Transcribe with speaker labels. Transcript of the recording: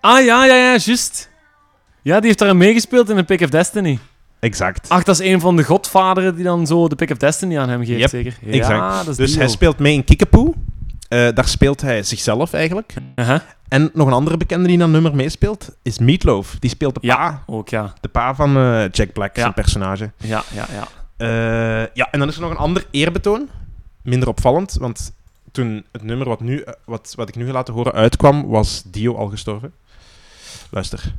Speaker 1: Ah ja, ja, ja, juist. Ja, die heeft daar meegespeeld in de Pick of Destiny.
Speaker 2: Exact.
Speaker 1: Ach, dat is een van de godvaderen die dan zo de Pick of Destiny aan hem geeft,
Speaker 2: Yep,
Speaker 1: zeker? Ja,
Speaker 2: exact.
Speaker 1: dat is
Speaker 2: dus
Speaker 1: die
Speaker 2: hij
Speaker 1: wel.
Speaker 2: speelt mee in Kickapoo. Eh, daar speelt hij zichzelf eigenlijk.
Speaker 1: Aha,
Speaker 2: En nog een andere bekende die in dat nummer meespeelt, is Meatloaf. Die speelt de
Speaker 1: Ja.
Speaker 2: pa,
Speaker 1: Ook ja.
Speaker 2: de pa van eh, Jack Black,
Speaker 1: Ja.
Speaker 2: zijn personage.
Speaker 1: Ja, ja, ja.
Speaker 2: Eh, ja, en dan is er nog een ander eerbetoon. Minder opvallend, want toen het nummer wat, nu, eh, wat, wat ik nu ga laten horen uitkwam, was Dio al gestorven. Luister.